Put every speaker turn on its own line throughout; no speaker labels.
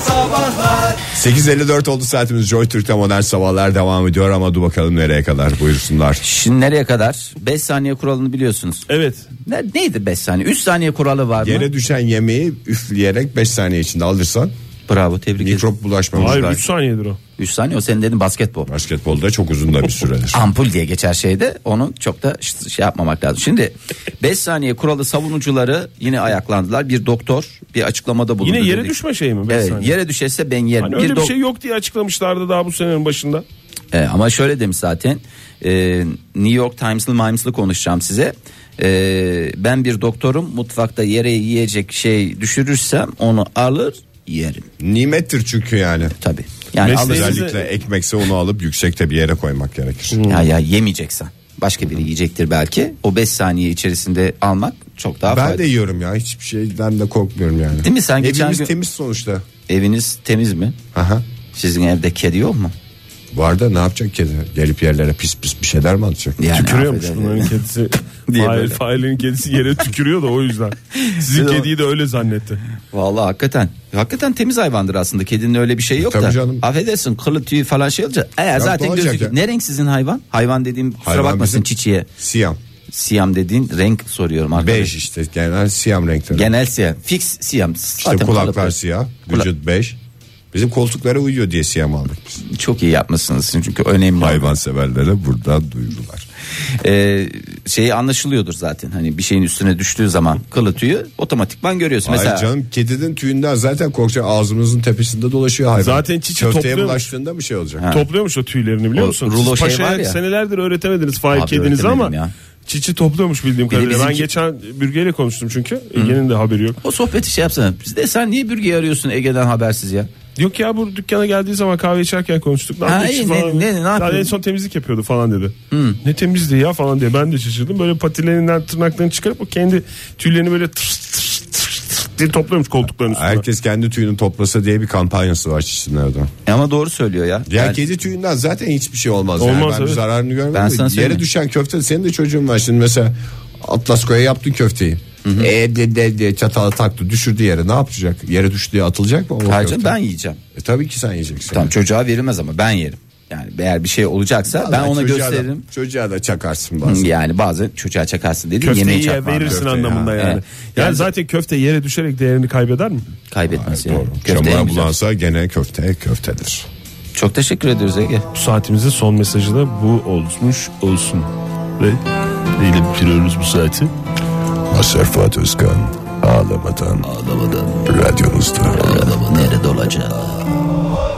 Sabahlar
8.54 oldu saatimiz Joy Türk'te modern sabahlar devam ediyor ama dur bakalım nereye kadar buyursunlar.
Şimdi nereye kadar? 5 saniye kuralını biliyorsunuz.
Evet.
Ne, neydi 5 saniye? 3 saniye kuralı var mı?
Yere düşen yemeği üfleyerek 5 saniye içinde alırsan
Bravo tebrik ederim.
mikrop bulaşmamış.
Hayır
Çocuklar.
3 saniyedir o.
3 saniye o senin dedin basketbol.
Basketbolda çok uzun da bir süredir.
Ampul diye geçer şeyde onu çok da ş- şey yapmamak lazım. Şimdi 5 saniye kuralı savunucuları yine ayaklandılar. Bir doktor bir açıklamada bulundu.
Yine yere
dedi ki-
düşme şeyi mi? beş
Evet,
saniye?
yere düşerse ben yerim.
Hani
bir
öyle bir
dok-
şey yok diye açıklamışlardı daha bu senenin başında.
E, ama şöyle demiş zaten e, New York Times'lı Mimes'lı konuşacağım size. E, ben bir doktorum mutfakta yere yiyecek şey düşürürsem onu alır yerim
Nimettir çünkü yani.
tabi. Yani
Mesleği-
alır,
Özellikle ekmekse onu alıp yüksekte bir yere koymak gerekir.
ya, ya yemeyeceksen başka biri yiyecektir belki o 5 saniye içerisinde almak çok daha
Ben
faydalı.
de yiyorum ya hiçbir şeyden de korkmuyorum yani.
Değil mi? Sen geçen
Evimiz
gün-
temiz sonuçta.
Eviniz temiz mi?
Aha.
Sizin evde kedi yok mu?
Bu arada ne yapacak kedi? Gelip yerlere pis pis bir şeyler mi atacak?
Tükürüyormuş
affedersin.
bunların kedisi.
Diye
Fail,
böyle.
failin kedisi yere tükürüyor da o yüzden. Sizin
Değil mi?
kediyi de öyle zannetti.
Vallahi hakikaten. Hakikaten temiz hayvandır aslında. Kedinin öyle bir şey yok
Tabii
da.
canım.
Affedersin kılı tüyü falan şey olacak. E, zaten
olacak
gözüküyor.
ya.
Ne renk sizin hayvan? Hayvan dediğim kusura
Hayvan
bakmasın
bizim-
çiçiye.
Siyam.
Siyam dediğin renk soruyorum arkadaş.
Bej işte genel siyam renkleri.
Genel siyam. Fix siyam.
İşte kulaklar siyah, vücut bej. Bizim koltuklara uyuyor diye siyam aldık biz.
Çok iyi yapmışsınız çünkü önemli.
Hayvanseverlere buradan duyurdular.
Ee, şeyi anlaşılıyordur zaten. Hani bir şeyin üstüne düştüğü zaman kılı tüyü otomatikman görüyorsun. Mesela
Hayır canım kedinin tüyünden zaten korkacak ağzımızın tepesinde dolaşıyor hayvan.
Zaten çiçi
Köfteye
topluyormuş.
bulaştığında bir şey olacak.
Topluyormuş o tüylerini biliyor
O
musun?
rulo
Siz
şey
paşaya
var ya.
senelerdir öğretemediniz fail
Abi
kedinizi
öğretemedim
ama
ya.
çiçi topluyormuş bildiğim kadarıyla. Ben
bizimki-
geçen bürgeyle konuştum çünkü. Ege'nin de haberi yok.
o sohbeti şey yapsana. Biz de sen niye bürgeyi arıyorsun Ege'den habersiz ya?
Yok ya bu dükkana geldiği zaman kahve içerken konuştuk. Ne
Ha,
yapıyorsun
iyi,
falan.
ne- ne- ne
Daha
yapıyorsun? Hmm.
en son temizlik yapıyordu falan dedi. Ne temizliği ya falan diye ben de şaşırdım. Böyle patilerinden tırnaklarını çıkarıp o kendi tüylerini böyle tırs tırs tırs tırs diye topluyormuş koltukların üstüne.
Herkes kendi tüyünü toplasa diye bir kampanyası var çiçinlerden.
E Ama doğru söylüyor ya.
Ya
Yani-
kedi tüyünden zaten hiçbir şey olmaz. yani.
Olmaz,
Ben bir
evet.
zararını görmedim.
Ben
de
sana söyleyeyim.
Yere düşen köfte senin de çocuğun var şimdi mesela Atlasko'ya yaptın köfteyi. E de de de çatala taktı düşürdü yere ne yapacak? Yere düştü diye atılacak mı? o
Hayır
köfte?
canım, ben yiyeceğim.
E tabii ki sen yiyeceksin.
Tamam çocuğa verilmez ama ben yerim. Yani eğer bir şey olacaksa ben
Vallahi
ona
çocuğa da-
gösteririm.
çocuğa da çakarsın bazen.
Yani bazen çocuğa çakarsın dedi yemeğe
Köfteyi ye,
çakma.
verirsin
Köfte
anlamında
ya.
yani.
Evet.
Yani,
Yani-
zaten köfte yere düşerek değerini kaybeder mi?
Kaybetmez yani.
Doğru.
Köfte
Çamura
en güzel.
bulansa gene köfte köftedir.
Çok teşekkür ediyoruz Ege.
Bu saatimizin son mesajı da bu olmuş olsun. Ve neyle bitiriyoruz bu saati?
Serfat Özkan ağlamadan ağlamadan radyonuzda.
Nerede olacak?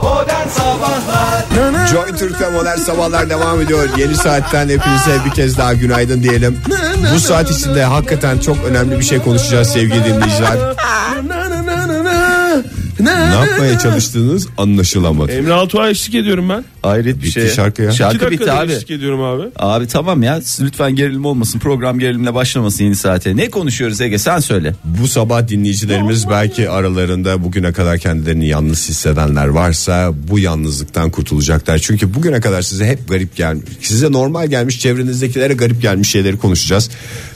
Modern Sabahlar
Joy Türk'te modern sabahlar devam ediyor. Yeni saatten hepinize bir kez daha günaydın diyelim. Bu saat içinde hakikaten çok önemli bir şey konuşacağız sevgili dinleyiciler. ne yapmaya çalıştığınız anlaşılamadı.
Emre Altuğ'a eşlik ediyorum ben.
Hayret bir
Bitti
şey.
şarkı ya.
İki
Şarkı bitti
dakikada
abi.
eşlik ediyorum abi.
Abi tamam ya siz lütfen gerilim olmasın program gerilimle başlamasın yeni saate. Ne konuşuyoruz Ege sen söyle.
Bu sabah dinleyicilerimiz belki aralarında bugüne kadar kendilerini yalnız hissedenler varsa bu yalnızlıktan kurtulacaklar. Çünkü bugüne kadar size hep garip gelmiş. Size normal gelmiş çevrenizdekilere garip gelmiş şeyleri konuşacağız.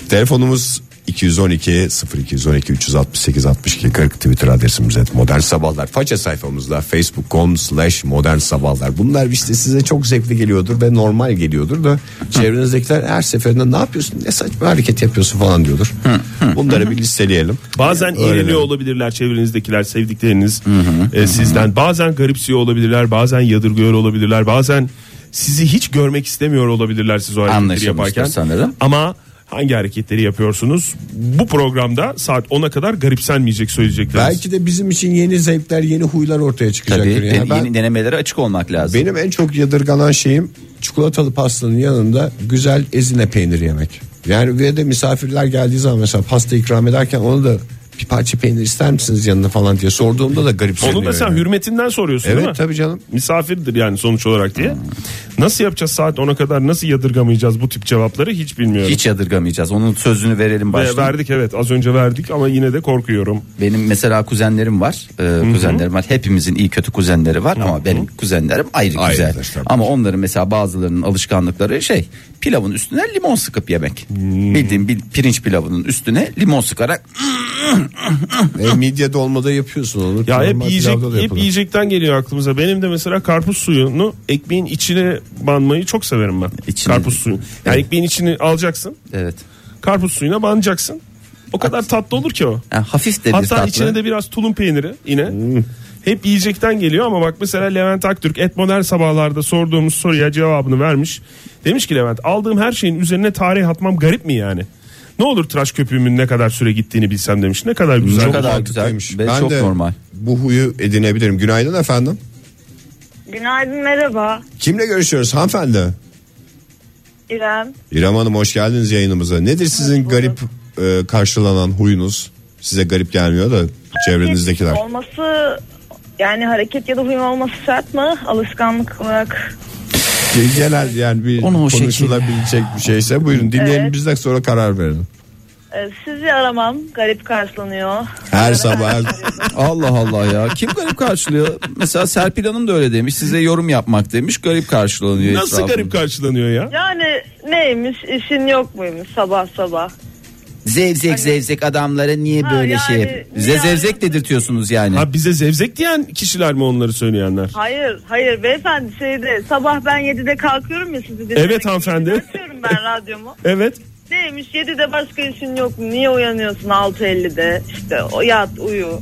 Telefonumuz 212 0212 368 62 40 Twitter adresimiz et modern sabahlar. Faça sayfamızda facebook.com slash modern sabahlar. Bunlar işte size çok zevkli geliyordur ve normal geliyordur da çevrenizdekiler her seferinde ne yapıyorsun ne saçma hareket yapıyorsun falan diyordur. Bunları bir listeleyelim.
Bazen
Öğrenelim.
iğreniyor olabilirler çevrenizdekiler, sevdikleriniz e, sizden. Bazen garipsiyor olabilirler, bazen yadırgıyor olabilirler, bazen sizi hiç görmek istemiyor olabilirler siz o hareketleri
Anlaşılmıştır
yaparken.
sanırım.
Ama hangi hareketleri yapıyorsunuz? Bu programda saat 10'a kadar garipsenmeyecek söyleyecekleriniz.
Belki de bizim için yeni zevkler, yeni huylar ortaya
Tabii
çıkacaktır. yani.
de-
Ben-
yeni denemelere açık olmak lazım.
benim en çok yadırganan şeyim çikolatalı pastanın yanında güzel ezine peyniri yemek. Yani ve de misafirler geldiği zaman mesela pasta ikram ederken onu da bir parça peynir ister misiniz yanına falan diye sorduğumda da garip
Onu da sen hürmetinden soruyorsun
Evet
değil mi?
tabii canım.
Misafirdir yani sonuç olarak diye. Nasıl yapacağız saat 10'a kadar nasıl yadırgamayacağız bu tip cevapları hiç bilmiyorum.
Hiç yadırgamayacağız. Onun sözünü verelim
Ve
başta.
verdik evet az önce verdik ama yine de korkuyorum.
Benim mesela kuzenlerim var. Ee, kuzenlerim var. Hepimizin iyi kötü kuzenleri var ama benim kuzenlerim ayrı
Ayrıdır
güzel.
tabii ki.
Ama onların mesela bazılarının alışkanlıkları şey pilavın üstüne limon sıkıp yemek. Bildiğin bir pirinç pilavının üstüne limon sıkarak
E, midye dolmada yapıyorsun olur.
Ya hep
Normal
yiyecek
pilavda da
hep
yapılır.
yiyecekten geliyor aklımıza. Benim de mesela karpuz suyunu ekmeğin içine banmayı çok severim ben.
İçine-
Karpuz suyu. Yani
Evet.
ekmeğin içini alacaksın.
evet.
Karpuz suyuna banacaksın. O kadar tatlı olur ki o.
Yani hafif de bir
Hatta
tatlı. Hmm.
içine de biraz tulum peyniri yine. Hep yiyecekten geliyor ama bak mesela Levent Aktürk et modern sabahlarda sorduğumuz soruya cevabını vermiş. Demiş ki Levent aldığım her şeyin üzerine tarih atmam garip mi yani? Ne olur tıraş köpüğümün ne kadar süre gittiğini bilsem demiş. Ne kadar güzel.
Ne kadar
Mantıklıymış.
güzel ve çok normal.
bu huyu edinebilirim. Günaydın efendim.
Günaydın merhaba
Kimle görüşüyoruz hanımefendi?
İrem.
İrem Hanım hoş geldiniz yayınımıza. Nedir sizin garip e, karşılanan huyunuz? Size garip gelmiyor da çevrenizdekiler.
Olması yani hareket ya da huyum olması şart mı? Alışkanlık olarak
Genel yani bir
Onu o şekil.
konuşulabilecek bir şeyse buyurun dinleyelim
Evet.
biz de sonra karar verelim.
e, sizi aramam garip karşılanıyor.
Her sabah her-
Allah Allah ya. Kim garip karşılıyor? Mesela Serpil Hanım da öyle demiş. Size yorum yapmak demiş. Garip karşılanıyor.
Nasıl
etrafında.
garip karşılanıyor ya?
Yani neymiş işin yok muymuş sabah sabah.
Zevzek zevzek adamlara niye
Hani- Ha,
böyle
yani
şey?
niye
Bize
yani?
zevzek dedirtiyorsunuz yani.
Ha bize zevzek diyen kişiler mi onları söyleyenler?
Hayır hayır beyefendi şeyde sabah ben 7'de kalkıyorum ya sizi dinlemek
Evet,
için.
hanımefendi.
Açıyorum ben radyomu.
Evet.
Neymiş 7'de başka işin yok mu? Niye uyanıyorsun 6.50'de? İşte o yat uyu.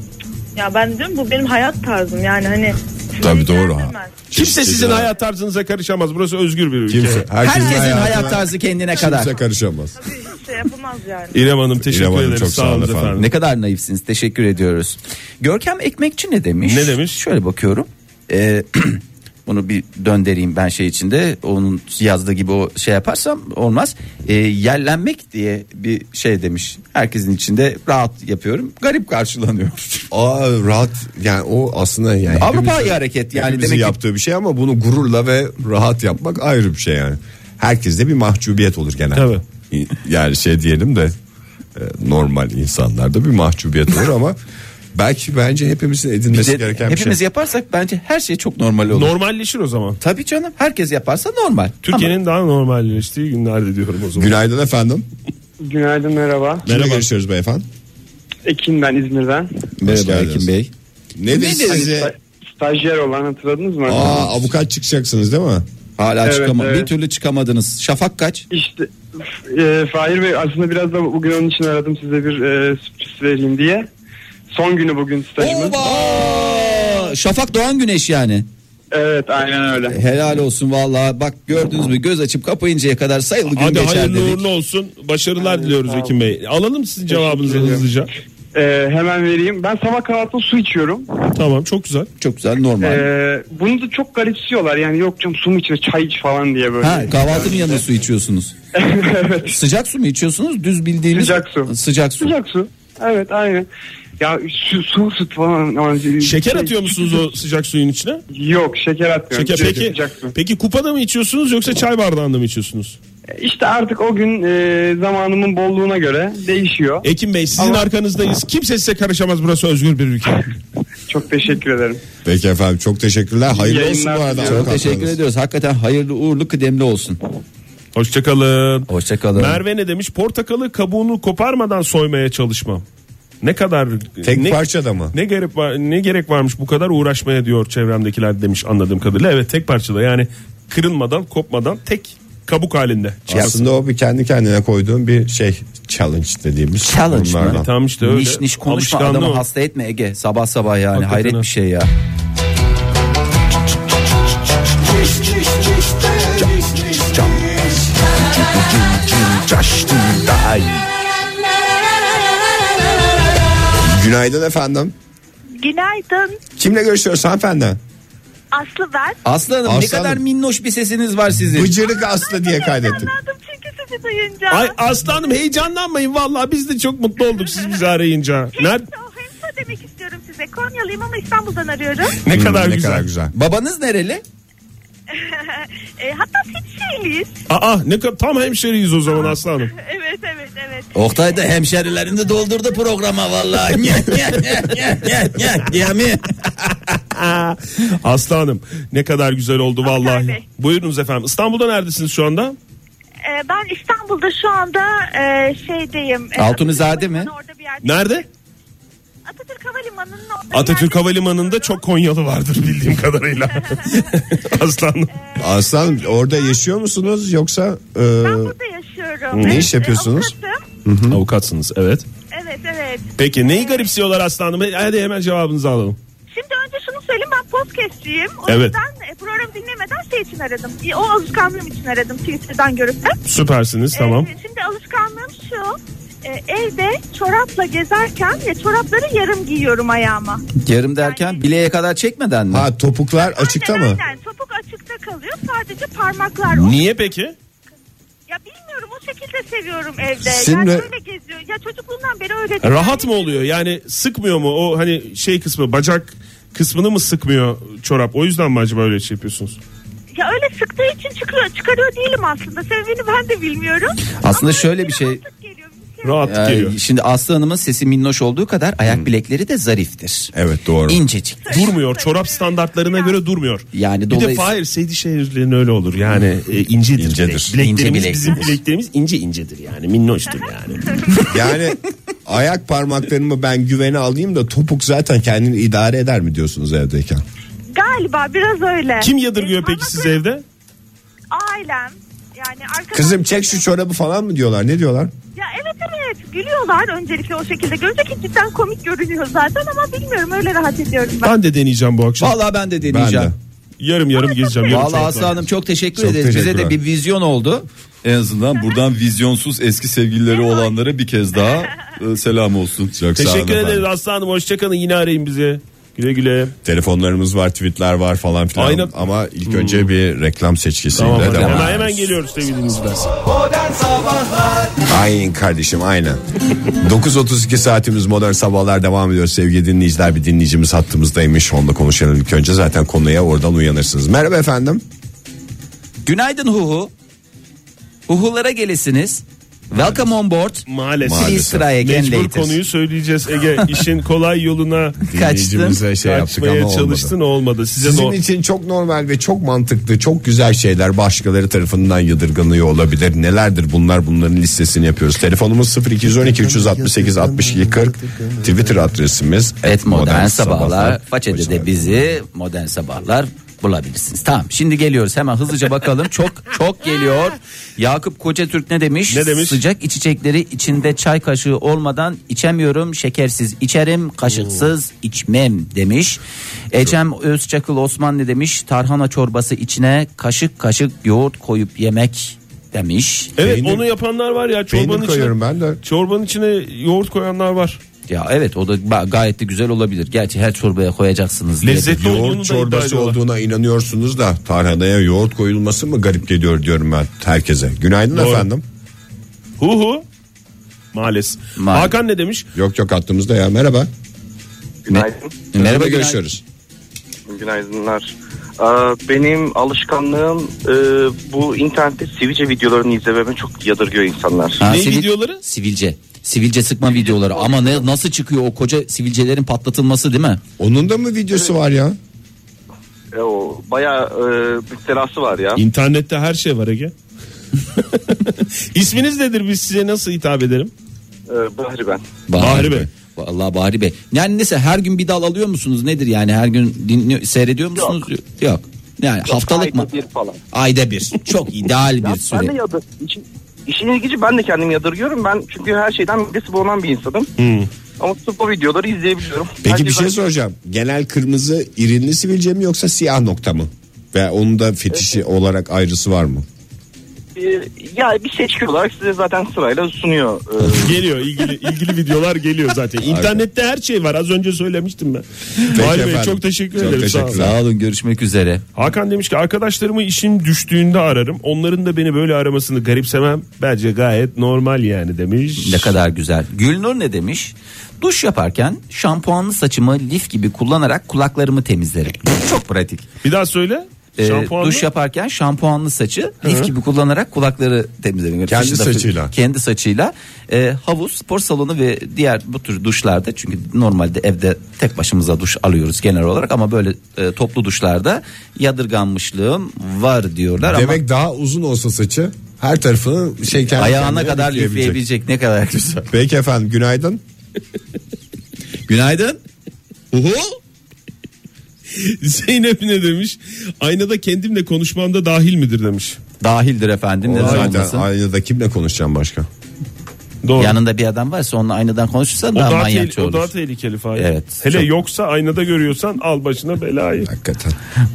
Ya ben diyorum bu benim hayat tarzım yani hani. sizi
Tabii doğru ha.
ilgilendirmez.
Kimse sizin hayat tarzınıza karışamaz. Burası özgür bir ülke.
Kimse,
Herkesin, hayat
hayatına
tarzı kendine kadar.
Kimse karışamaz.
Tabii hiçbir şey yapamaz yani.
İrem Hanım teşekkür
İrem Hanım,
ederim.
çok
sağ olun efendim.
Ne kadar naifsiniz. Teşekkür ediyoruz. Görkem Ekmekçi ne demiş?
Ne demiş?
Şöyle bakıyorum. Ee, bunu bir döndüreyim ben şey içinde. Onun yazdığı gibi o şey yaparsam olmaz. Ee, yerlenmek diye bir şey demiş. Herkesin içinde rahat yapıyorum. Garip karşılanıyor.
Aa rahat yani o aslında yani
Avrupa
hepimizin-
hareket yani
hepimizin
demek ki
yaptığı bir şey ama bunu gururla ve rahat yapmak ayrı bir şey yani. Herkeste bir mahcubiyet olur genelde.
Tabii.
İ- Yani şey diyelim de e, normal insanlarda bir mahcubiyet olur ama belki bence hepimizin edinmesi
bize-
gereken bir şey.
hepimiz yaparsak bence her şey çok normal olur.
Normalleşir o zaman.
Tabii canım herkes yaparsa normal.
Türkiye'nin daha normalleştiği günlerde diyorum o zaman.
Günaydın efendim.
Günaydın merhaba.
Kimle
Merhaba.
görüşüyoruz beyefendi?
Ekin ben İzmir'den.
Merhaba
geldiniz.
Ekin Bey.
Nedir
Nedir?
size?
Stajyer olan hatırladınız mı?
Aa avukat çıkacaksınız değil mi?
Hala
Evet,
çıkama
evet.
bir türlü çıkamadınız. Şafak kaç?
İşte e, Fahir Bey aslında biraz da bugün onun için aradım size bir e, sürpriz vereyim diye. Son günü bugün stajımın.
Oba! Şafak doğan güneş yani.
Evet aynen öyle.
Helal olsun vallahi. Bak gördünüz mü göz açıp kapayıncaya kadar sayılı gün
Hadi
geçer
hayırlı
dedik.
uğurlu olsun. Başarılar
Aynen,
diliyoruz
sağ
Ekim Bey. Alalım sizin cevabınızı
ederim.
hızlıca.
E, hemen vereyim. Ben sabah kahvaltıda su içiyorum.
Tamam çok güzel.
Çok güzel normal.
E, bunu da çok garipsiyorlar. Yani yok canım su mu içiyor çay iç falan diye böyle.
ha kahvaltının yanında su içiyorsunuz.
evet.
Sıcak su mu içiyorsunuz? Düz bildiğiniz
Sıcak su.
Sıcak su.
Sıcak su. Evet aynen. Ya su, su süt falan. aman,
Şeker
şey-
atıyor musunuz o sıcak suyun içine?
Yok şeker atmıyorum.
Şeker
Direkt
peki.
sıcak su.
Peki kupada mı içiyorsunuz yoksa çay bardağında mı içiyorsunuz?
İşte artık o gün e, zamanımın bolluğuna göre değişiyor.
Ekim Bey sizin
Ama-
arkanızdayız. Kimse size karışamaz. Burası özgür bir ülke.
Çok teşekkür ederim.
Peki efendim çok teşekkürler. Hayırlı olsun bu
yayınlar
arada.
diliyorum.
Çok teşekkür
avukatlarınız.
ediyoruz. Hakikaten hayırlı uğurlu kıdemli olsun.
Hoşçakalın.
Hoşçakalın.
Merve ne demiş? Portakalı kabuğunu koparmadan soymaya çalışmam. Ne kadar
Tek
ne,
parçada mı?
ne gerek var ne gerek varmış bu kadar uğraşmaya diyor çevremdekiler demiş anladığım kadarıyla. Evet tek parçada yani kırılmadan, kopmadan tek kabuk halinde.
Şey,
Aslında o bir kendi kendine koyduğum bir şey challenge dediğimiz.
Challenge mı?
Onlardan.
Tam E, işte öyle.
Niş niş konuşma
Alışkanlığı
adamı
o.
hasta etme Ege. Sabah sabah yani
Hakikaten
hayret
ha.
bir şey ya.
Günaydın efendim.
Günaydın
Kimle görüşüyoruz hanımefendi?
Aslı ben.
Aslı Hanım ne
Aslı
kadar
Hanım.
minnoş bir sesiniz var sizin.
Bıcırık Aslı diye kaydettik.
Anladım çünkü sizi duyunca.
Ay aslanım heyecanlanmayın vallahi biz de çok mutlu olduk siz bizi arayınca. Nerede?
Hemşire demek
Hmm,
istiyorum size. Konyalıyım ama İstanbul'dan arıyorum.
Ne kadar
Hmm, ne
güzel.
kadar güzel.
Babanız nereli?
E, hatta hiç şeyliyiz.
Aa ne ka- tam hemşeriyiz o zaman Aslı Hanım.
Evet evet evet.
Oktay da hemşerilerini doldurdu programa vallahi. Nye, nye, nye, nye, nye, nye, diye mi?
Aslı Hanım ne kadar güzel oldu
Oktay
vallahi.
Bey.
Buyurunuz efendim. İstanbul'da neredesiniz şu anda?
E, ben İstanbul'da şu anda e, şeydeyim. E,
Altunizade
Atatürk
mi?
Havalimanı Orada bir yerde.
Nerede?
Atatürk Havalimanı'nın orada bir
Atatürk
yerde
Havalimanı'nda çok Konyalı vardır bildiğim kadarıyla. Aslı Hanım.
Aslan orada yaşıyor musunuz yoksa e,
Ben burada yaşıyorum.
Ne
Evet,
iş yapıyorsunuz?
e, avukatım.
Avukatsınız evet.
Evet evet.
Peki neyi garipsiyorlar Aslı Hanım? Hadi hemen cevabınızı alalım.
Şimdi önce şunu söyleyeyim ben podcastçiyim. O
Evet.
yüzden e, programı dinlemeden şey için aradım. E, O alışkanlığım için aradım Twitter'dan görüp de.
Süpersiniz tamam.
E, şimdi alışkanlığım şu. e, evde çorapla gezerken e, çorapları yarım giyiyorum ayağıma.
Yarım derken bileğe kadar çekmeden mi?
ha topuklar açıkta
Aynen,
mı?
Aynen topuk açıkta kalıyor sadece parmaklar. O-
Niye peki?
Ya bilmiyorum o şekilde seviyorum evde.
Şimdi-
Yani öyle geziyor. Ya çocukluğumdan beri öyle.
Rahat mı
Yani-
oluyor? Yani sıkmıyor mu? O hani şey kısmı bacak kısmını mı sıkmıyor çorap? O yüzden mi acaba öyle şey yapıyorsunuz?
Ya öyle sıktığı için çıkıyor, çıkarıyor değilim aslında. Sebebini ben de bilmiyorum.
Aslında
Ama
şöyle bir şey-
rahatlık geliyor, bir şey-
Rahat
Ee,
geliyor.
şimdi Aslı Hanım'ın sesi minnoş olduğu kadar ayak bilekleri de zariftir.
Evet doğru.
İncecik.
Durmuyor. Çorap standartlarına göre durmuyor.
Yani
bir de
dolayısıyla-
Fahir Seydişehirlerin öyle olur. Yani e, incedir.
İncedir.
Bileklerimiz,
İnce bileklidir.
bizim bileklerimiz ince incedir yani. Minnoştur yani.
Yani ayak parmaklarımı ben güvene alayım da topuk zaten kendini idare eder mi diyorsunuz evdeyken?
Galiba biraz öyle.
Kim yadırgıyor
Ee,
peki
parmak
siz
arası-
evde?
Ailem. Yani arkadaşlar.
Kızım çek şu çorabı falan mı diyorlar? Ne diyorlar?
Ya evet evet gülüyorlar öncelikle o şekilde. Görünce ki cidden komik görünüyor zaten ama bilmiyorum öyle rahat ediyorum ben.
Ben de deneyeceğim bu akşam.
Vallahi ben de
Ben de.
deneyeceğim.
Yarım yarım gezeceğim. Yarım
Vallahi
çorapla.
Aslı Hanım çok teşekkür
Çok
ederiz. Bize de
teşekkürler.
bir vizyon oldu.
En azından buradan vizyonsuz eski sevgilileri olanlara bir kez daha e, selam olsun.
Teşekkür ederiz
ederim.
Aslı Hanım. Hoşçakalın. Yine arayın bizi. Güle güle.
Telefonlarımız var, tweetler var falan filan.
Aynen.
Ama ilk
Hmm.
önce bir reklam seçkisiyle
Tamam, hadi.
devam.
hemen, hemen geliyoruz sevgili dinleyiciler.
Modern Sabahlar
Aynen kardeşim aynen. 9.32 saatimiz modern sabahlar devam ediyor sevgili dinleyiciler. Bir dinleyicimiz hattımızdaymış. Onunla konuşalım ilk önce zaten konuya oradan uyanırsınız. Merhaba efendim.
Günaydın Huhu. Huhulara gelesiniz. Welcome on board.
Maalesef.
Maalesef.
Please try again
Mecbur
later.
konuyu söyleyeceğiz Ege. İşin kolay yoluna
Dinleyicimize şey yaptık ama
kaçmaya
olmadı.
çalıştın olmadı. Size
Sizin
no-
için çok normal ve çok mantıklı, çok güzel şeyler başkaları tarafından yadırganıyor olabilir. Nelerdir bunlar? Bunların listesini yapıyoruz. Telefonumuz 0212 368 62 40. Twitter adresimiz
Evet modern sabahlar.
Hoş
Façede de
geldiniz.
bizi modern sabahlar bulabilirsiniz. Tamam şimdi geliyoruz hemen hızlıca bakalım. çok çok geliyor. Yakup Kocatürk ne demiş?
Ne demiş?
Sıcak içecekleri içinde çay kaşığı olmadan içemiyorum. Şekersiz içerim, kaşıksız içmem demiş. Ecem Özçakıl Osman ne demiş? Tarhana çorbası içine kaşık kaşık yoğurt koyup yemek demiş.
Evet
Peynir-
onu yapanlar var ya çorbanın
Peynir koyuyorum
içine.
ben de.
Çorbanın içine yoğurt koyanlar var.
Ya evet o da ba- gayet de güzel olabilir. Gerçi her çorbaya koyacaksınız. diye de
Lezzetli olduğunu da
Yoğurt
iddia
çorbası
ediyorlar.
olduğuna inanıyorsunuz da tarhanaya yoğurt koyulması mı garip geliyor diyorum ben herkese. Günaydın
Doğru.
efendim.
Hu hu. Maalesef.
Maalesef.
Hakan ne demiş?
Yok yok attığımızda ya merhaba.
Günaydın.
Merhaba
günaydın.
görüşüyoruz.
Günaydınlar. Ee, Benim alışkanlığım e, bu internette sivice videolarını izlememe çok yadırgıyor insanlar.
Ha,
Ne videoları?
Sivilce. Sivilce sıkma videoları. Ama ne nasıl çıkıyor o koca sivilcelerin patlatılması değil mi?
Onun da mı videosu var ya?
E, o bayağı e, müptelası var ya.
İnternette her şey var Ege. İsminiz nedir biz size nasıl hitap edelim?
E, Bahri ben.
Bahri Bey.
Vallahi Bahri Bey. Yani neyse her gün bir dal alıyor musunuz? Nedir yani her gün dinliyor, seyrediyor musunuz? Yok. Yani haftalık mı?
Ayda bir falan.
Ayda bir. Çok ideal
Ya
bir
ben de
süre.
yadır. İşin, işin ilginci ben de kendimi yadırgıyorum. Ben çünkü her şeyden midesi bulunan bir insanım. Ama tutup o videoları izleyebiliyorum.
Peki
Herkes
bir şey
aynı-
soracağım. Genel kırmızı irinli sivilce mi yoksa siyah nokta mı? Ve onun da fetişi olarak ayrısı var mı?
E, Ya bir seçki olarak size zaten sırayla sunuyor. E,
Geliyor ilgili ilgili videolar geliyor zaten. İnternette her şey var. Az önce söylemiştim ben. Bahri Bey
efendim.
çok teşekkür
Çok
ederim. Sağ
teşekkürler.
olun.
Sağ olun görüşmek üzere.
Hakan demiş ki arkadaşlarımı işim düştüğünde ararım. Onların da beni böyle aramasını garipsemem. Bence gayet normal yani demiş.
Ne kadar güzel. Gülnur ne demiş? Duş yaparken şampuanlı saçımı lif gibi kullanarak kulaklarımı temizlerim. Çok pratik.
Bir daha söyle.
e,
Şampuanlı?
duş yaparken şampuanlı saçı lif gibi kullanarak kulakları temizleniyor.
Kendi
Dışında-
saçıyla.
Kendi saçıyla. E, havuz, spor salonu ve diğer bu tür duşlarda çünkü normalde evde tek başımıza duş alıyoruz genel olarak ama böyle e, toplu duşlarda yadırganmışlığım var diyorlar ama
Demek daha uzun olsa saçı her tarafını şey kendi
ayağına
kendine
kadar
lifleyebilecek.
lifleyebilecek ne kadar güzel.
Peki efendim günaydın.
Günaydın.
Zeynep ne demiş? Aynada kendimle konuşmamda dahil midir demiş.
Dahildir efendim. neden olmasın?
Aynada, aynada kimle konuşacağım başka?
Doğru.
Yanında bir adam varsa onunla aynadan konuşursan
o
daha
daha,
manyakça
tehli- o
olur.
daha tehlikeli Fahir.
Evet,
Hele
çok-
yoksa aynada görüyorsan al başına belayı.
Hakikaten.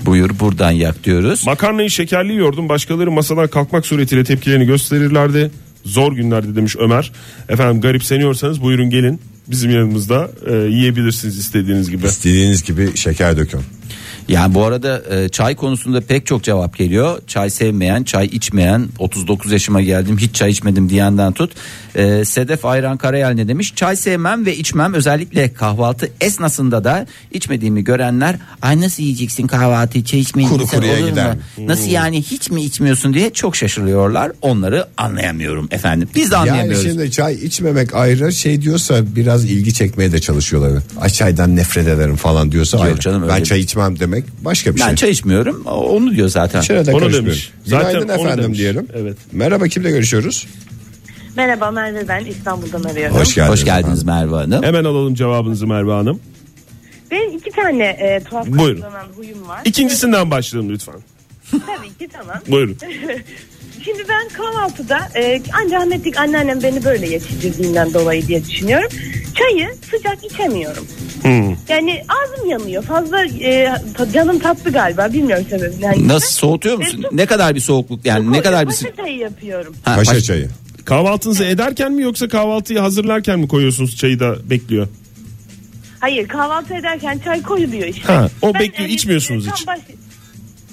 Buyur buradan yak diyoruz.
Makarnayı şekerli yordum. Başkaları masadan kalkmak suretiyle tepkilerini gösterirlerdi. Zor günlerdi demiş Ömer. Efendim garipseniyorsanız buyurun gelin. Bizim yanımızda e, yiyebilirsiniz istediğiniz gibi.
İstediğiniz gibi şeker dökün.
Yani bu arada e, çay konusunda pek çok cevap geliyor. Çay sevmeyen, çay içmeyen, 39 yaşıma geldim hiç çay içmedim diyenden tut. E, Sedef Ayran Karayel ne demiş? Çay sevmem ve içmem özellikle kahvaltı esnasında da içmediğimi görenler ay nasıl yiyeceksin kahvaltıyı çay içmeyin
Kuru kuruya
olur mu?
gider Hmm. mi?"
Nasıl yani hiç mi içmiyorsun diye çok şaşırıyorlar. Onları anlayamıyorum efendim. Biz de
Yani
anlayamıyoruz.
şimdi çay içmemek ayrı şey diyorsa biraz ilgi çekmeye de çalışıyorlar. Ay çaydan nefret ederim falan diyorsa
Yok
ayrı.
canım, öyle
ben
değil.
çay içmem demek başka bir
Ben
şey.
çay içmiyorum. O- Onu diyor zaten.
İçine de
Onu
karışmıyorum.
demiş. Zaten
Günaydın
onu
efendim
demiş.
diyelim.
Evet.
Merhaba kimle görüşüyoruz?
Merhaba Merve ben İstanbul'dan arıyorum.
Hoş geldiniz.
Hoş geldiniz Merve Hanım.
Hemen alalım cevabınızı Merve Hanım.
Benim iki tane e, tuhaf
Buyurun.
karşılanan huyum var.
İkincisinden başlayalım lütfen.
Tabii ki tamam.
Buyurun.
Şimdi ben kahvaltıda e, anneannemlik anneannem beni böyle yetiştirdiğinden dolayı diye düşünüyorum. Çayı sıcak içemiyorum.
Hmm.
Yani ağzım yanıyor. Fazla e, ta- canım tatlı galiba. Bilmiyorum sebebini. Yani
Nasıl soğutuyor musun? Ne kadar bir soğukluk yani ne kadar bir
Paşa çayı yapıyorum.
Ha,
Paşa
baş-
çayı.
Kahvaltınızı ederken mi yoksa kahvaltıyı hazırlarken mi koyuyorsunuz çayı da bekliyor?
Hayır kahvaltı ederken çay koyuluyor işte.
Ha, o
Ben,
bekliyor,
e,
içmiyorsunuz
tam
hiç.
baş-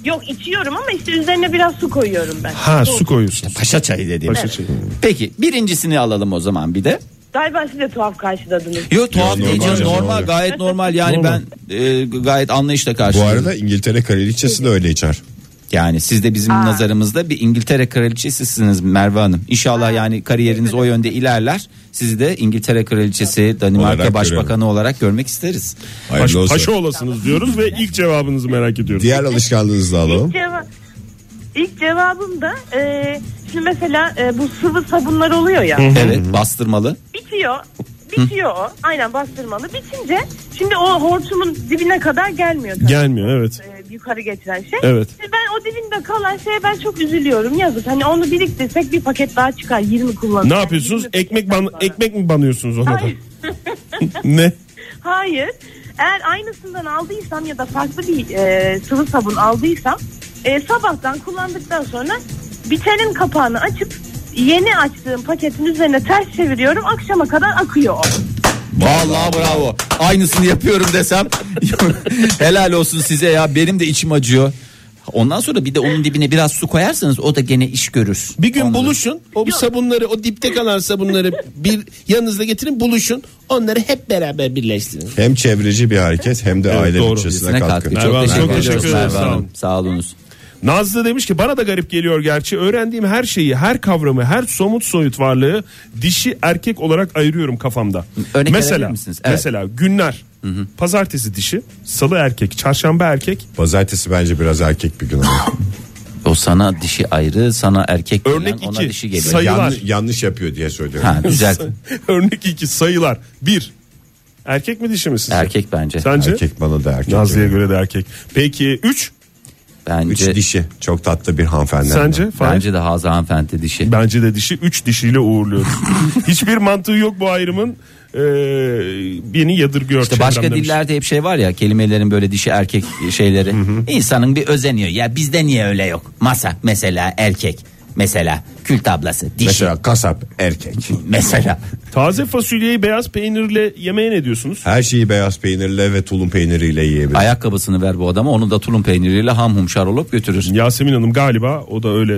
Yok içiyorum ama işte üzerine biraz su koyuyorum ben.
Ha
Soğuk.
su koyuyorsunuz.
Paşa çayı dediğim.
Paşa çayı.
Peki birincisini alalım o zaman bir de.
Galiba siz de tuhaf karşıladınız.
Yok tuhaf
normal
değil canım
canım,
normal,
normal.
gayet normal yani
Normal.
ben e, gayet anlayışla
Bu
karşılıyorum.
arada İngiltere kraliçesi de öyle içer.
Yani siz de bizim nazarımızda bir İngiltere kraliçesisiniz Merve Hanım. İnşallah yani kariyeriniz o yönde ilerler. Sizi de İngiltere kraliçesi Danimarka
Olarak
başbakanı
görelim.
olarak görmek isteriz.
Hayırlı
Paşa,
olsun.
paşa olasınız diyoruz ve ilk cevabınızı merak ediyoruz.
Diğer alışkanlığınızı da alalım.
Ceva- İlk cevabım da e, şimdi mesela e, bu sıvı sabunlar oluyor ya.
Evet bastırmalı.
bitiyor. Bitiyor o. Aynen bastırmalı. Bitince şimdi o hortumun dibine kadar gelmiyor. tabii.
Gelmiyor evet.
E, yukarı getiren şey.
Evet.
Şimdi Ben o dibinde kalan şeye ben çok üzülüyorum yazık. Hani onu biriktirsek bir paket daha çıkar 20 kullanır.
Ne yapıyorsunuz? Ekmek ban
ekmek
ekmek mi banıyorsunuz ona da?
Hayır.
ne?
Hayır. Eğer aynısından aldıysam ya da farklı bir e, sıvı sabun aldıysam e, sabahtan kullandıktan sonra bitenin kapağını açıp yeni açtığım paketin üzerine ters çeviriyorum. Akşama kadar akıyor o.
Vallahi bravo. Aynısını yapıyorum desem helal olsun size ya benim de içim acıyor. Ondan sonra bir de onun dibine biraz su koyarsanız o da gene iş görür.
Bir gün buluşun. O sabunları, o dipte kalan sabunları bir yanınızda getirin, buluşun. Onları hep beraber birleştirin.
Hem çevreci bir hareket hem de aile
doğru.
bütçesine
Size katkı.
katkı.
Merve Hanım,
Çok
çok
teşekkür
teşekkür
ediyoruz Merve
ederiz. Sağ olun.
Hanım. Sağ olunuz.
Nazlı demiş ki bana da garip geliyor gerçi. Öğrendiğim her şeyi, her kavramı, her somut soyut varlığı dişi erkek olarak ayırıyorum kafamda.
Örnek
mesela
verebilir misiniz? Evet.
mesela günler. Pazartesi dişi, salı erkek, çarşamba erkek.
Pazartesi bence biraz erkek bir gün. ama.
O sana dişi ayrı, sana erkek
Örnek
gelen, ona
iki.
dişi geliyor.
Sayı-
Ya-
Yanlış, yanlış yapıyor diye söylüyorum.
Ha, güzel.
Örnek iki sayılar. Bir. Erkek mi dişi mi sizce?
erkek bence.
Sence?
Erkek bana da erkek.
Nazlı'ya
geliyor.
göre de erkek. Peki 3
Üç
Bence
dişi. Çok tatlı bir hanımefendi.
sence? Fahir?
bence de Hazan hanımefendi dişi.
Bence de dişi 3 dişiyle uğurluyoruz. Hiçbir mantığı yok bu ayrımın. Ee, beni yadırgıyor.
İşte
çevrem
başka
demiş.
dillerde hep şey var ya kelimelerin böyle dişi erkek şeyleri. İnsanın bir özeniyor. Ya bizde niye öyle yok? Masa mesela erkek. Mesela kül tablası dişi. Mesela.
Mesela kasap erkek.
Taze fasulyeyi beyaz peynirle yemeğe ne diyorsunuz?
Her şeyi beyaz peynirle ve tulum peyniriyle yiyebilir.
Ayakkabısını ver bu adama onu da tulum peyniriyle ham humşar olup götürür.
Yasemin Hanım galiba o da öyle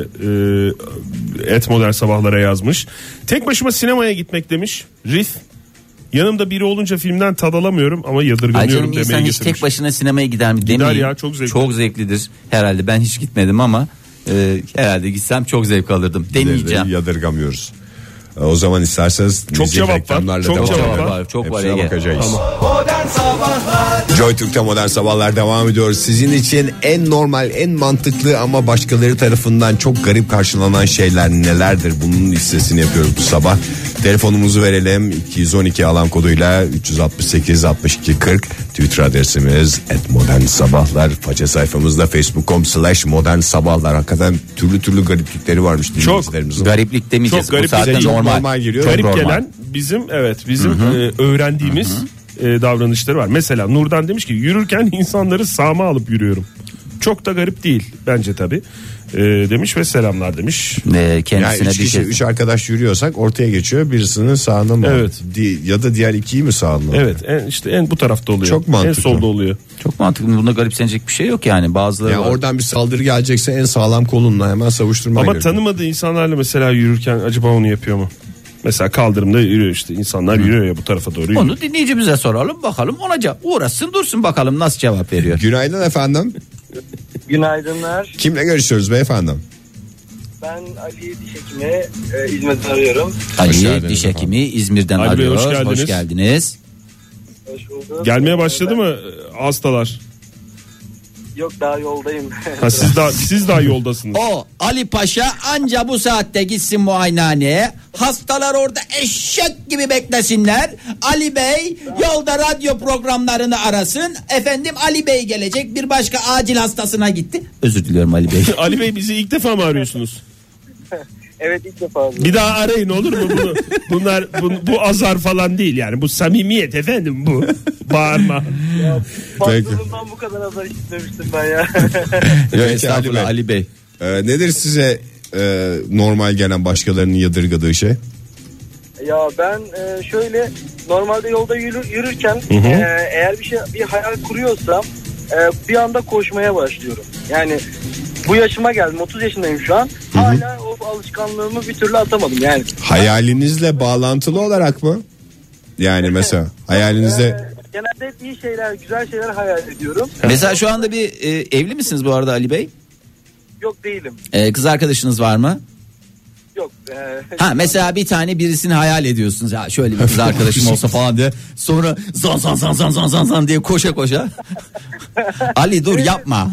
e, et modern sabahlara yazmış. Tek başıma sinemaya gitmek demiş. Rif. Yanımda biri olunca filmden tad alamıyorum ama
Ay canım
yadırganıyorum
insan
demeye
hiç
getirmiş.
tek başına sinemaya gider mi demeyin.
ya, çok zevkli.
Çok zevklidir herhalde ben hiç gitmedim ama e, herhalde gitsem çok zevk alırdım deneyeceğim.
Yadırgamıyoruz. Ee, O zaman isterseniz müzik
cevap var,
reklamlarla
çok
devam
cevap
edelim.
var, çok var
Hepsine
Ege.
bakacağız.
Modern Sabahlar
Joy Türk'te modern sabahlar devam ediyor. Sizin için en normal, en mantıklı ama başkaları tarafından çok garip karşılanan şeyler nelerdir? Bunun listesini yapıyoruz bu sabah. Telefonumuzu verelim. 212 alan koduyla 368 62 40. Twitter adresimiz et modern sabahlar. Faça sayfamızda facebook.com slash modern sabahlar. Hakikaten türlü türlü gariplikleri varmış. dinleyicilerimizin.
Gariplik demeyeceğiz.
Çok garip,
Bu saatte
bize
çok
normal.
normal geliyor.
Çok
Garip
normal.
gelen bizim evet bizim e, öğrendiğimiz e, davranışları var. Mesela Nurdan demiş ki yürürken insanları sağma alıp yürüyorum. Çok da garip değil bence tabi. demiş ve selamlar demiş.
E,
Yani
kendisine
üç
bir
kişi,
şey.
üç arkadaş yürüyorsak ortaya geçiyor. Birisinin sağına mı?
Evet.
Di- Ya da diğer ikiyi mi sağına? mı?
Evet en, işte en bu tarafta oluyor.
Çok
En
mantıklı.
solda oluyor.
Çok mantıklı. Bunda garipsenecek bir şey yok yani. Bazıları
Ya
var.
oradan bir saldırı gelecekse en sağlam kolunla hemen savuşturman
Ama
gerekiyor.
tanımadığı insanlarla mesela yürürken acaba onu yapıyor mu? Mesela kaldırımda yürüyor işte insanlar yürüyor ya bu tarafa doğru. yürüyor.
Onu dinleyicimize soralım bakalım. Ona cevap uğraşsın dursun bakalım nasıl cevap veriyor.
Günaydın efendim.
Günaydınlar.
Kimle görüşüyoruz beyefendi?
Ben Ali Diş Hekimi e, İzmir'den arıyorum.
Hoş
Ali
geldiniz
diş
efendim.
hekimi İzmir'den
Ali Bey,
arıyoruz.
hoş
Hoş geldiniz.
geldiniz.
Hoş bulduk.
Gelmeye başladı
Ben-
mı e, hastalar?
Yok daha yoldayım.
Ha, siz daha siz daha yoldasınız.
O Ali Paşa anca bu saatte gitsin muayenehaneye. Hastalar orada eşek gibi beklesinler. Ali Bey yolda radyo programlarını arasın. Efendim Ali Bey gelecek bir başka acil hastasına gitti. Özür diliyorum Ali Bey.
Ali Bey bizi ilk defa mı arıyorsunuz?
evet ilk defa.
Bir daha arayın olur mu bunu? Bunlar bu, bu azar falan değil yani. Bu samimiyet efendim bu. Bağırma.
Patronumdan bu kadar azar işitmemiştim ben ya.
Peki Ali Bey.
Ali Bey.
Ee, nedir size e, normal gelen başkalarının yadırgadığı şey?
ya ben e, şöyle normalde yolda yürür, yürürken e, eğer bir şey bir hayal kuruyorsam e, bir anda koşmaya başlıyorum. Yani bu yaşıma geldim 30 yaşındayım şu an. Hala o alışkanlığımı bir türlü atamadım yani.
Hayalinizle bağlantılı olarak mı? Yani mesela hayalinizde
E, genelde hep iyi şeyler, güzel şeyler hayal ediyorum.
Mesela şu anda bir e, evli misiniz bu arada Ali Bey?
Yok değilim.
E, kız arkadaşınız var mı?
Yok. E,
Ha mesela bir tane birisini hayal ediyorsunuz. Ya şöyle bir kız arkadaşım olsa falan diye. Sonra zan zan zan zan zan zan zan diye koşa koşa. Ali dur yapma.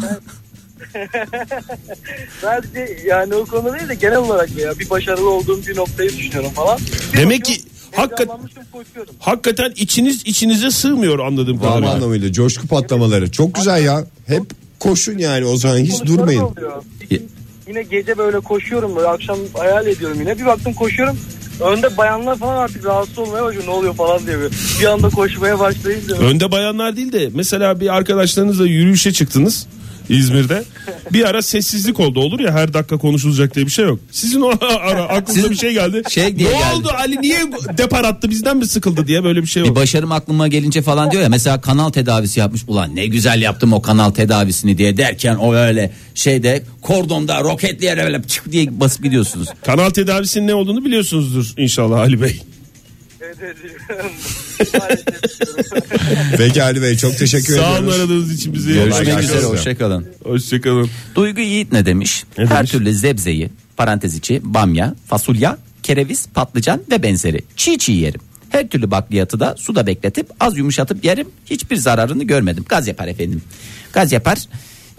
Sadece yani o konuda değil de genel olarak ya bir başarılı olduğum bir noktayı düşünüyorum falan. Bir
Demek
bakıyorum,
ki hakikaten-
heyecanlanmışım, koşuyorum.
Hakikaten içiniz içinize sığmıyor anladığım
tam
kadarıyla.
anlamıyla coşku patlamaları çok güzel ya. Hep koşun yani o zaman hiç
Sonuçları
durmayın.
oluyor. Bir gün Yine gece böyle koşuyorum böyle akşam hayal ediyorum yine. Bir baktım koşuyorum. Önde bayanlar falan artık rahatsız olmaya başlıyor. Ne oluyor falan diye böyle. Bir anda koşmaya başlayınca.
Önde bayanlar değil de mesela bir arkadaşlarınızla yürüyüşe çıktınız İzmir'de. Bir ara sessizlik oldu olur ya her dakika konuşulacak diye bir şey yok. Sizin o ara aklınıza
Sizin
bir şey geldi.
şey diye
ne
geldi.
oldu Ali niye depar attı bizden mi sıkıldı diye böyle bir şey
Bir
yok.
başarım aklıma gelince falan diyor ya mesela kanal tedavisi yapmış ulan ne güzel yaptım o kanal tedavisini diye derken o öyle şeyde kordonda roketleyerek böyle çık diye basıp gidiyorsunuz.
Kanal tedavisinin ne olduğunu biliyorsunuzdur inşallah Ali Bey.
Evet, evet. Maalesef diyorum.
Peki Ali Bey çok teşekkür
Sağ olun
ediyoruz.
aradığınız için bizi.
Görüşmek
Görüşmek üzere
Arkadaşlar.
hoşçakalın.
Hoşçakalın.
Duygu Yiğit ne demiş?
Ne
Her
demiş?
türlü zebzeyi, parantez içi, bamya, fasulye, kereviz, patlıcan ve benzeri çiğ çiğ yerim. Her türlü bakliyatı da suda bekletip az yumuşatıp yerim. Hiçbir zararını görmedim. Gaz yapar efendim. Gaz yapar.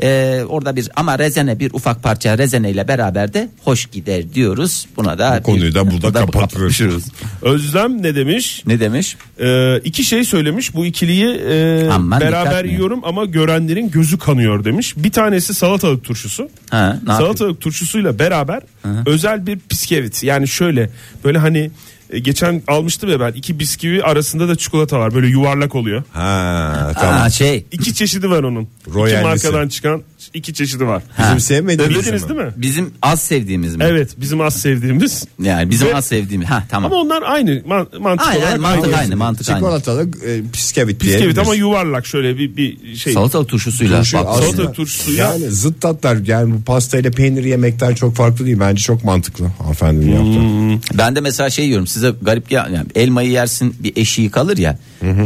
Ee, orada bir ama rezene bir ufak parça rezene ile beraber de hoş gider diyoruz. Buna da
Bu konuyu da
bir-
burada
bu-
kapatıyoruz.
Özlem ne demiş?
Ne demiş?
Ee, iki şey söylemiş. Bu ikiliyi e,
Aman dikkat
beraber
mi?
yiyorum ama görenlerin gözü kanıyor demiş. Bir tanesi salatalık turşusu.
Ha, ne
salatalık turşusuyla beraber özel bir piskevit. Yani şöyle böyle hani e, geçen almıştım ya ben iki bisküvi arasında da çikolata var. Böyle yuvarlak oluyor.
Ha tamam.
Aa, şey
İki çeşidi var onun.
Royal'lisi.
İki markadan çıkan iki çeşidi var.
Bizim sevmediğimiz
Bildiniz
mi?
değil mi?
Bizim az sevdiğimiz mi?
Evet bizim az sevdiğimiz.
Yani bizim
Ve-
az sevdiğimiz. Ha tamam.
Ama onlar aynı man- mantık
Aynen,
olarak.
mantık
aynı.
aynı mantık aynı.
Çikolatalı e, piskevit diye.
Bisküvit ama yuvarlak şöyle bir, bir şey.
Salatalık turşusuyla.
Turşu
bak,
aslında-
salata turşusuyla-
Yani zıt tatlar yani bu pastayla peynir yemekten çok farklı değil. Bence çok mantıklı
Hmm.
hanımefendinin yaptığı.
Ben de mesela şey yiyorum size garip gel yani elmayı yersin bir eşiği kalır ya.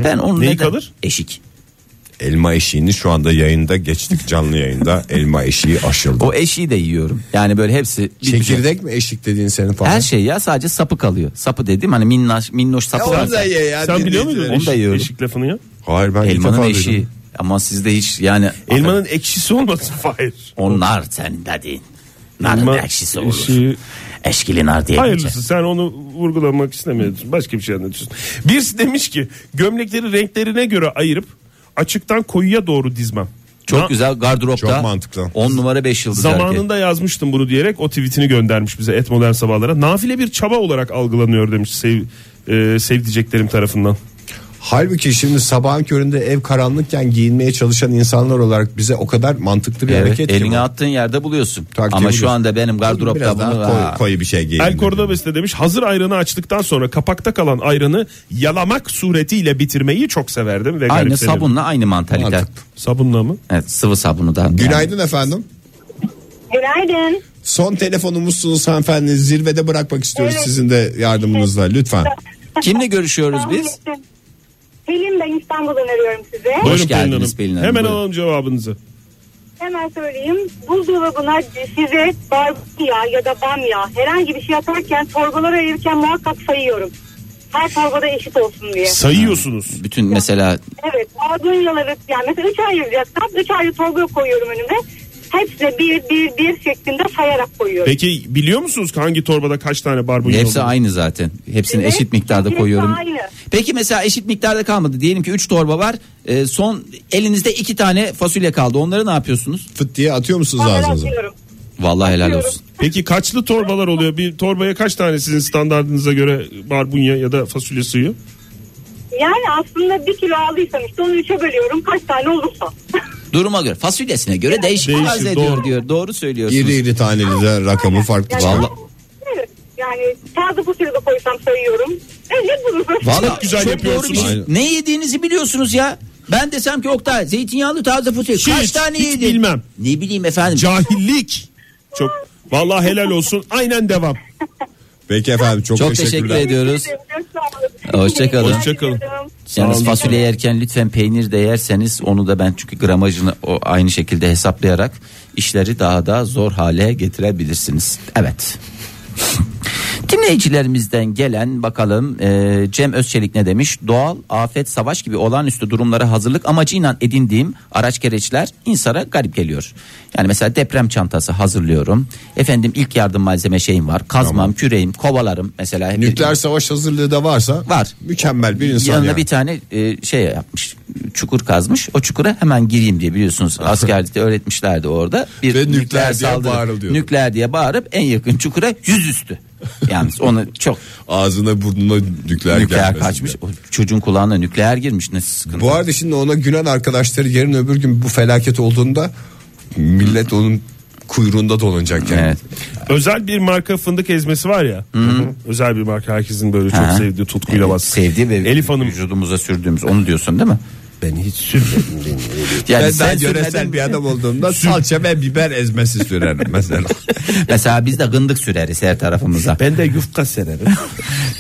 Ben onu
Neyi
neden-
kalır?
Eşik.
Elma eşiğini şu anda yayında geçtik canlı yayında elma eşiği aşıldı.
O eşiği de yiyorum. Yani böyle hepsi bir bütün-
Çekirdek mi eşik dediğin senin falan?
Her şey ya sadece sapı kalıyor. Sapı dediğim hani minnoş minnoş sapı var.
ye ya.
Sen biliyor
Onu
muydun?
da
eşik-
yiyorum.
Eşik lafını ya.
Hayır ben ilk
Elmanın
defa
eşiği.
duydum.
Ama sizde hiç yani
Elmanın ekşisi olmasın Fahir.
onlar sen dedin. Narın
Elma
ekşisi olur.
eşiği-
Eşkili nar diye. geçer.
Hayırlısı sen onu vurgulamak istemiyorsun. Başka bir şey anlatıyorsun. Birisi demiş ki gömlekleri renklerine göre ayırıp açıktan koyuya doğru dizmem.
Çok
Na-
güzel gardıropta.
Çok mantıklı.
10 numara 5 yıldız hareket.
Zamanında yazmıştım bunu diyerek o tweetini göndermiş bize et modern sabahlara. Nafile bir çaba olarak algılanıyor demiş sev, e, sevdiceklerim tarafından.
Halbuki şimdi sabahın köründe ev karanlıkken giyinmeye çalışan insanlar olarak bize o kadar mantıklı bir
Evet,
hareket ki
eline
bu.
attığın yerde buluyorsun.
Takdir
Ama şu
ediyorsun.
anda benim gardıropta
Biraz daha
bunu
koyu,
Ha.
koyu bir şey giyin.
El Cordobes de demiş hazır ayranı açtıktan sonra kapakta kalan ayranı yalamak suretiyle bitirmeyi çok severdim ve
aynı
garipsenirim.
sabunla aynı mantalite.
Mantıklı.
Sabunla mı?
Evet, sıvı sabunu da.
Günaydın efendim.
Günaydın.
Son telefonumuzsunuz hanımefendi. Zirvede bırakmak istiyoruz sizin de yardımınızla lütfen.
Yani. Kimle görüşüyoruz biz?
Pelin ben İstanbul'dan arıyorum size.
Hoş geldiniz Pelin Hanım,
Hemen
buyurun.
alalım cevabınızı.
Hemen söyleyeyim. Buzdolabına size barbeküya ya da bamya herhangi bir şey atarken torbalara ayırırken muhakkak sayıyorum. Her torbada eşit olsun diye.
Sayıyorsunuz.
Bütün mesela
Evet madunyaları yani mesela 3 ay yiyeceksem 3 ayrı torba koyuyorum önüme. Hepsine bir bir bir şeklinde sayarak koyuyorum.
Peki biliyor musunuz hangi torbada kaç tane barbunya
hepsi
olduğunu?
aynı zaten. Hepsini
Evet,
eşit miktarda
hepsi
koyuyorum.
aynı.
Peki mesela eşit miktarda kalmadı. Diyelim ki 3 torba var. Ee, son elinizde 2 tane fasulye kaldı. Onları ne yapıyorsunuz?
Fıt diye atıyor musunuz
Onları
ağzınıza?
atıyorum.
Vallahi helal
Atıyorum.
olsun.
Peki kaçlı torbalar oluyor? Bir torbaya kaç tane sizin standartınıza göre barbunya ya da fasulye suyu?
Yani aslında bir kilo aldıysam işte onu üçe bölüyorum kaç tane olursa.
Duruma göre fasulyesine göre değişik
Değişir,
arz ediyor
doğru.
diyor. Doğru söylüyorsunuz.
İri iri taneli de rakamı farklı.
Yani,
Vallahi
Evet, yani taze fasulye de koysam sayıyorum. Evet bunu
Vallahi
Çok güzel yapıyorsunuz.
doğru bir şey.
Aynen.
Ne yediğinizi biliyorsunuz ya. Ben desem ki Oktay zeytinyağlı taze fasulye kaç tane
hiç
yedin?
bilmem.
Ne bileyim efendim.
Cahillik. Çok vallahi helal olsun. Aynen devam.
Peki efendim çok,
Çok
teşekkürler.
teşekkür ediyoruz. Hoşçakalın.
Hoşçakalın.
Yalnız fasulye yerken lütfen peynir de yerseniz onu da ben çünkü gramajını o aynı şekilde hesaplayarak işleri daha da zor hale getirebilirsiniz. Evet. Dinleyicilerimizden gelen bakalım e, Cem Özçelik ne demiş? Doğal, afet, savaş gibi olağanüstü durumlara hazırlık amacıyla edindiğim araç gereçler insana garip geliyor. Yani mesela deprem çantası hazırlıyorum. Efendim ilk yardım malzeme şeyim var. Kazmam, küreğim, kovalarım mesela. Hep-
Nükleer savaş hazırlığı da varsa
Var.
mükemmel bir insan
Yanına
yani.
bir tane e, şey yapmış. Çukur kazmış. O çukura hemen gireyim diye biliyorsunuz askerlikte öğretmişlerdi orada. Bir
Ve nükleer diye bağırılıyordu.
Nükleer diye bağırıp en yakın çukura yüzüstü. Yalnız onu çok
Ağzına burnuna nükleer,
nükleer
gelmesin
kaçmış. O
diye.
çocuğun kulağına nükleer girmiş. Ne sıkıntı.
Bu arada şimdi ona gülen arkadaşları yarın öbür gün bu felaket olduğunda millet onun kuyruğunda dolanacak yani.
Evet.
Özel bir marka fındık ezmesi var ya. Özel bir marka herkesin böyle çok
Ha.
sevdiği tutkuyla bas.
Sevdiği ve
Elif Hanım
vücudumuza sürdüğümüz onu diyorsun değil mi?
Ben hiç sürmedim.
Yani
ben
sen
daha
sürmedin
yöresel
mi?
bir adam olduğumda salça ve biber ezmesi sürerim mesela.
Mesela biz de gındık süreriz her tarafımıza.
ben de yufka sererim.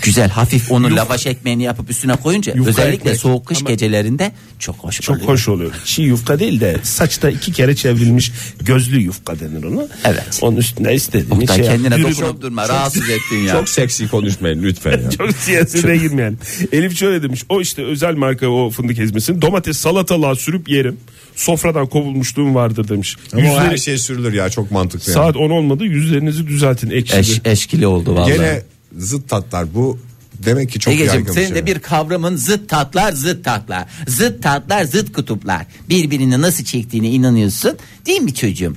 Güzel hafif onu lavaş ekmeğini yapıp üstüne koyunca
Yufka
özellikle
ekmek.
soğuk kış gecelerinde çok hoş
Çok
oluyor.
hoş oluyor. Çiğ yufka değil de saçta iki kere çevrilmiş gözlü yufka denir ona.
Evet.
Onun üstüne istediğin
Oktay
şey yap.
kendine
Yürü
dokunup durma rahatsız ettin ya.
Çok seksi konuşmayın lütfen ya.
Çok siyasete girmeyelim. Elif şöyle demiş. O işte özel marka o fındık ezmesini domates salatalığa sürüp yerim. Sofradan kovulmuşluğum vardır demiş.
Ama o her
Yüzleri-
şey sürülür ya çok mantıklı yani.
Saat 10 olmadı yüzlerinizi düzeltin ekşidi.
Eş, eşkili oldu vallahi.
Gene zıt tatlar bu demek ki çok
Egeciğim
yaygın bir
senin
şey.
de bir kavramın zıt tatlar zıt tatlar. Zıt tatlar zıt kutuplar. Birbirini nasıl çektiğine inanıyorsun değil mi çocuğum?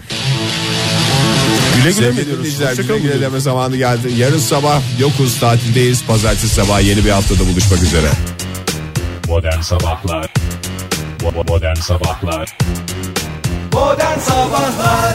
Güle güle mi
Sevgili
diyoruz?
dinleyiciler
Hoşçakalın.
güle güle deme zamanı geldi. Yarın sabah yokuz tatildeyiz. Pazartesi sabah yeni bir haftada buluşmak üzere.
Modern Modern Sabahlar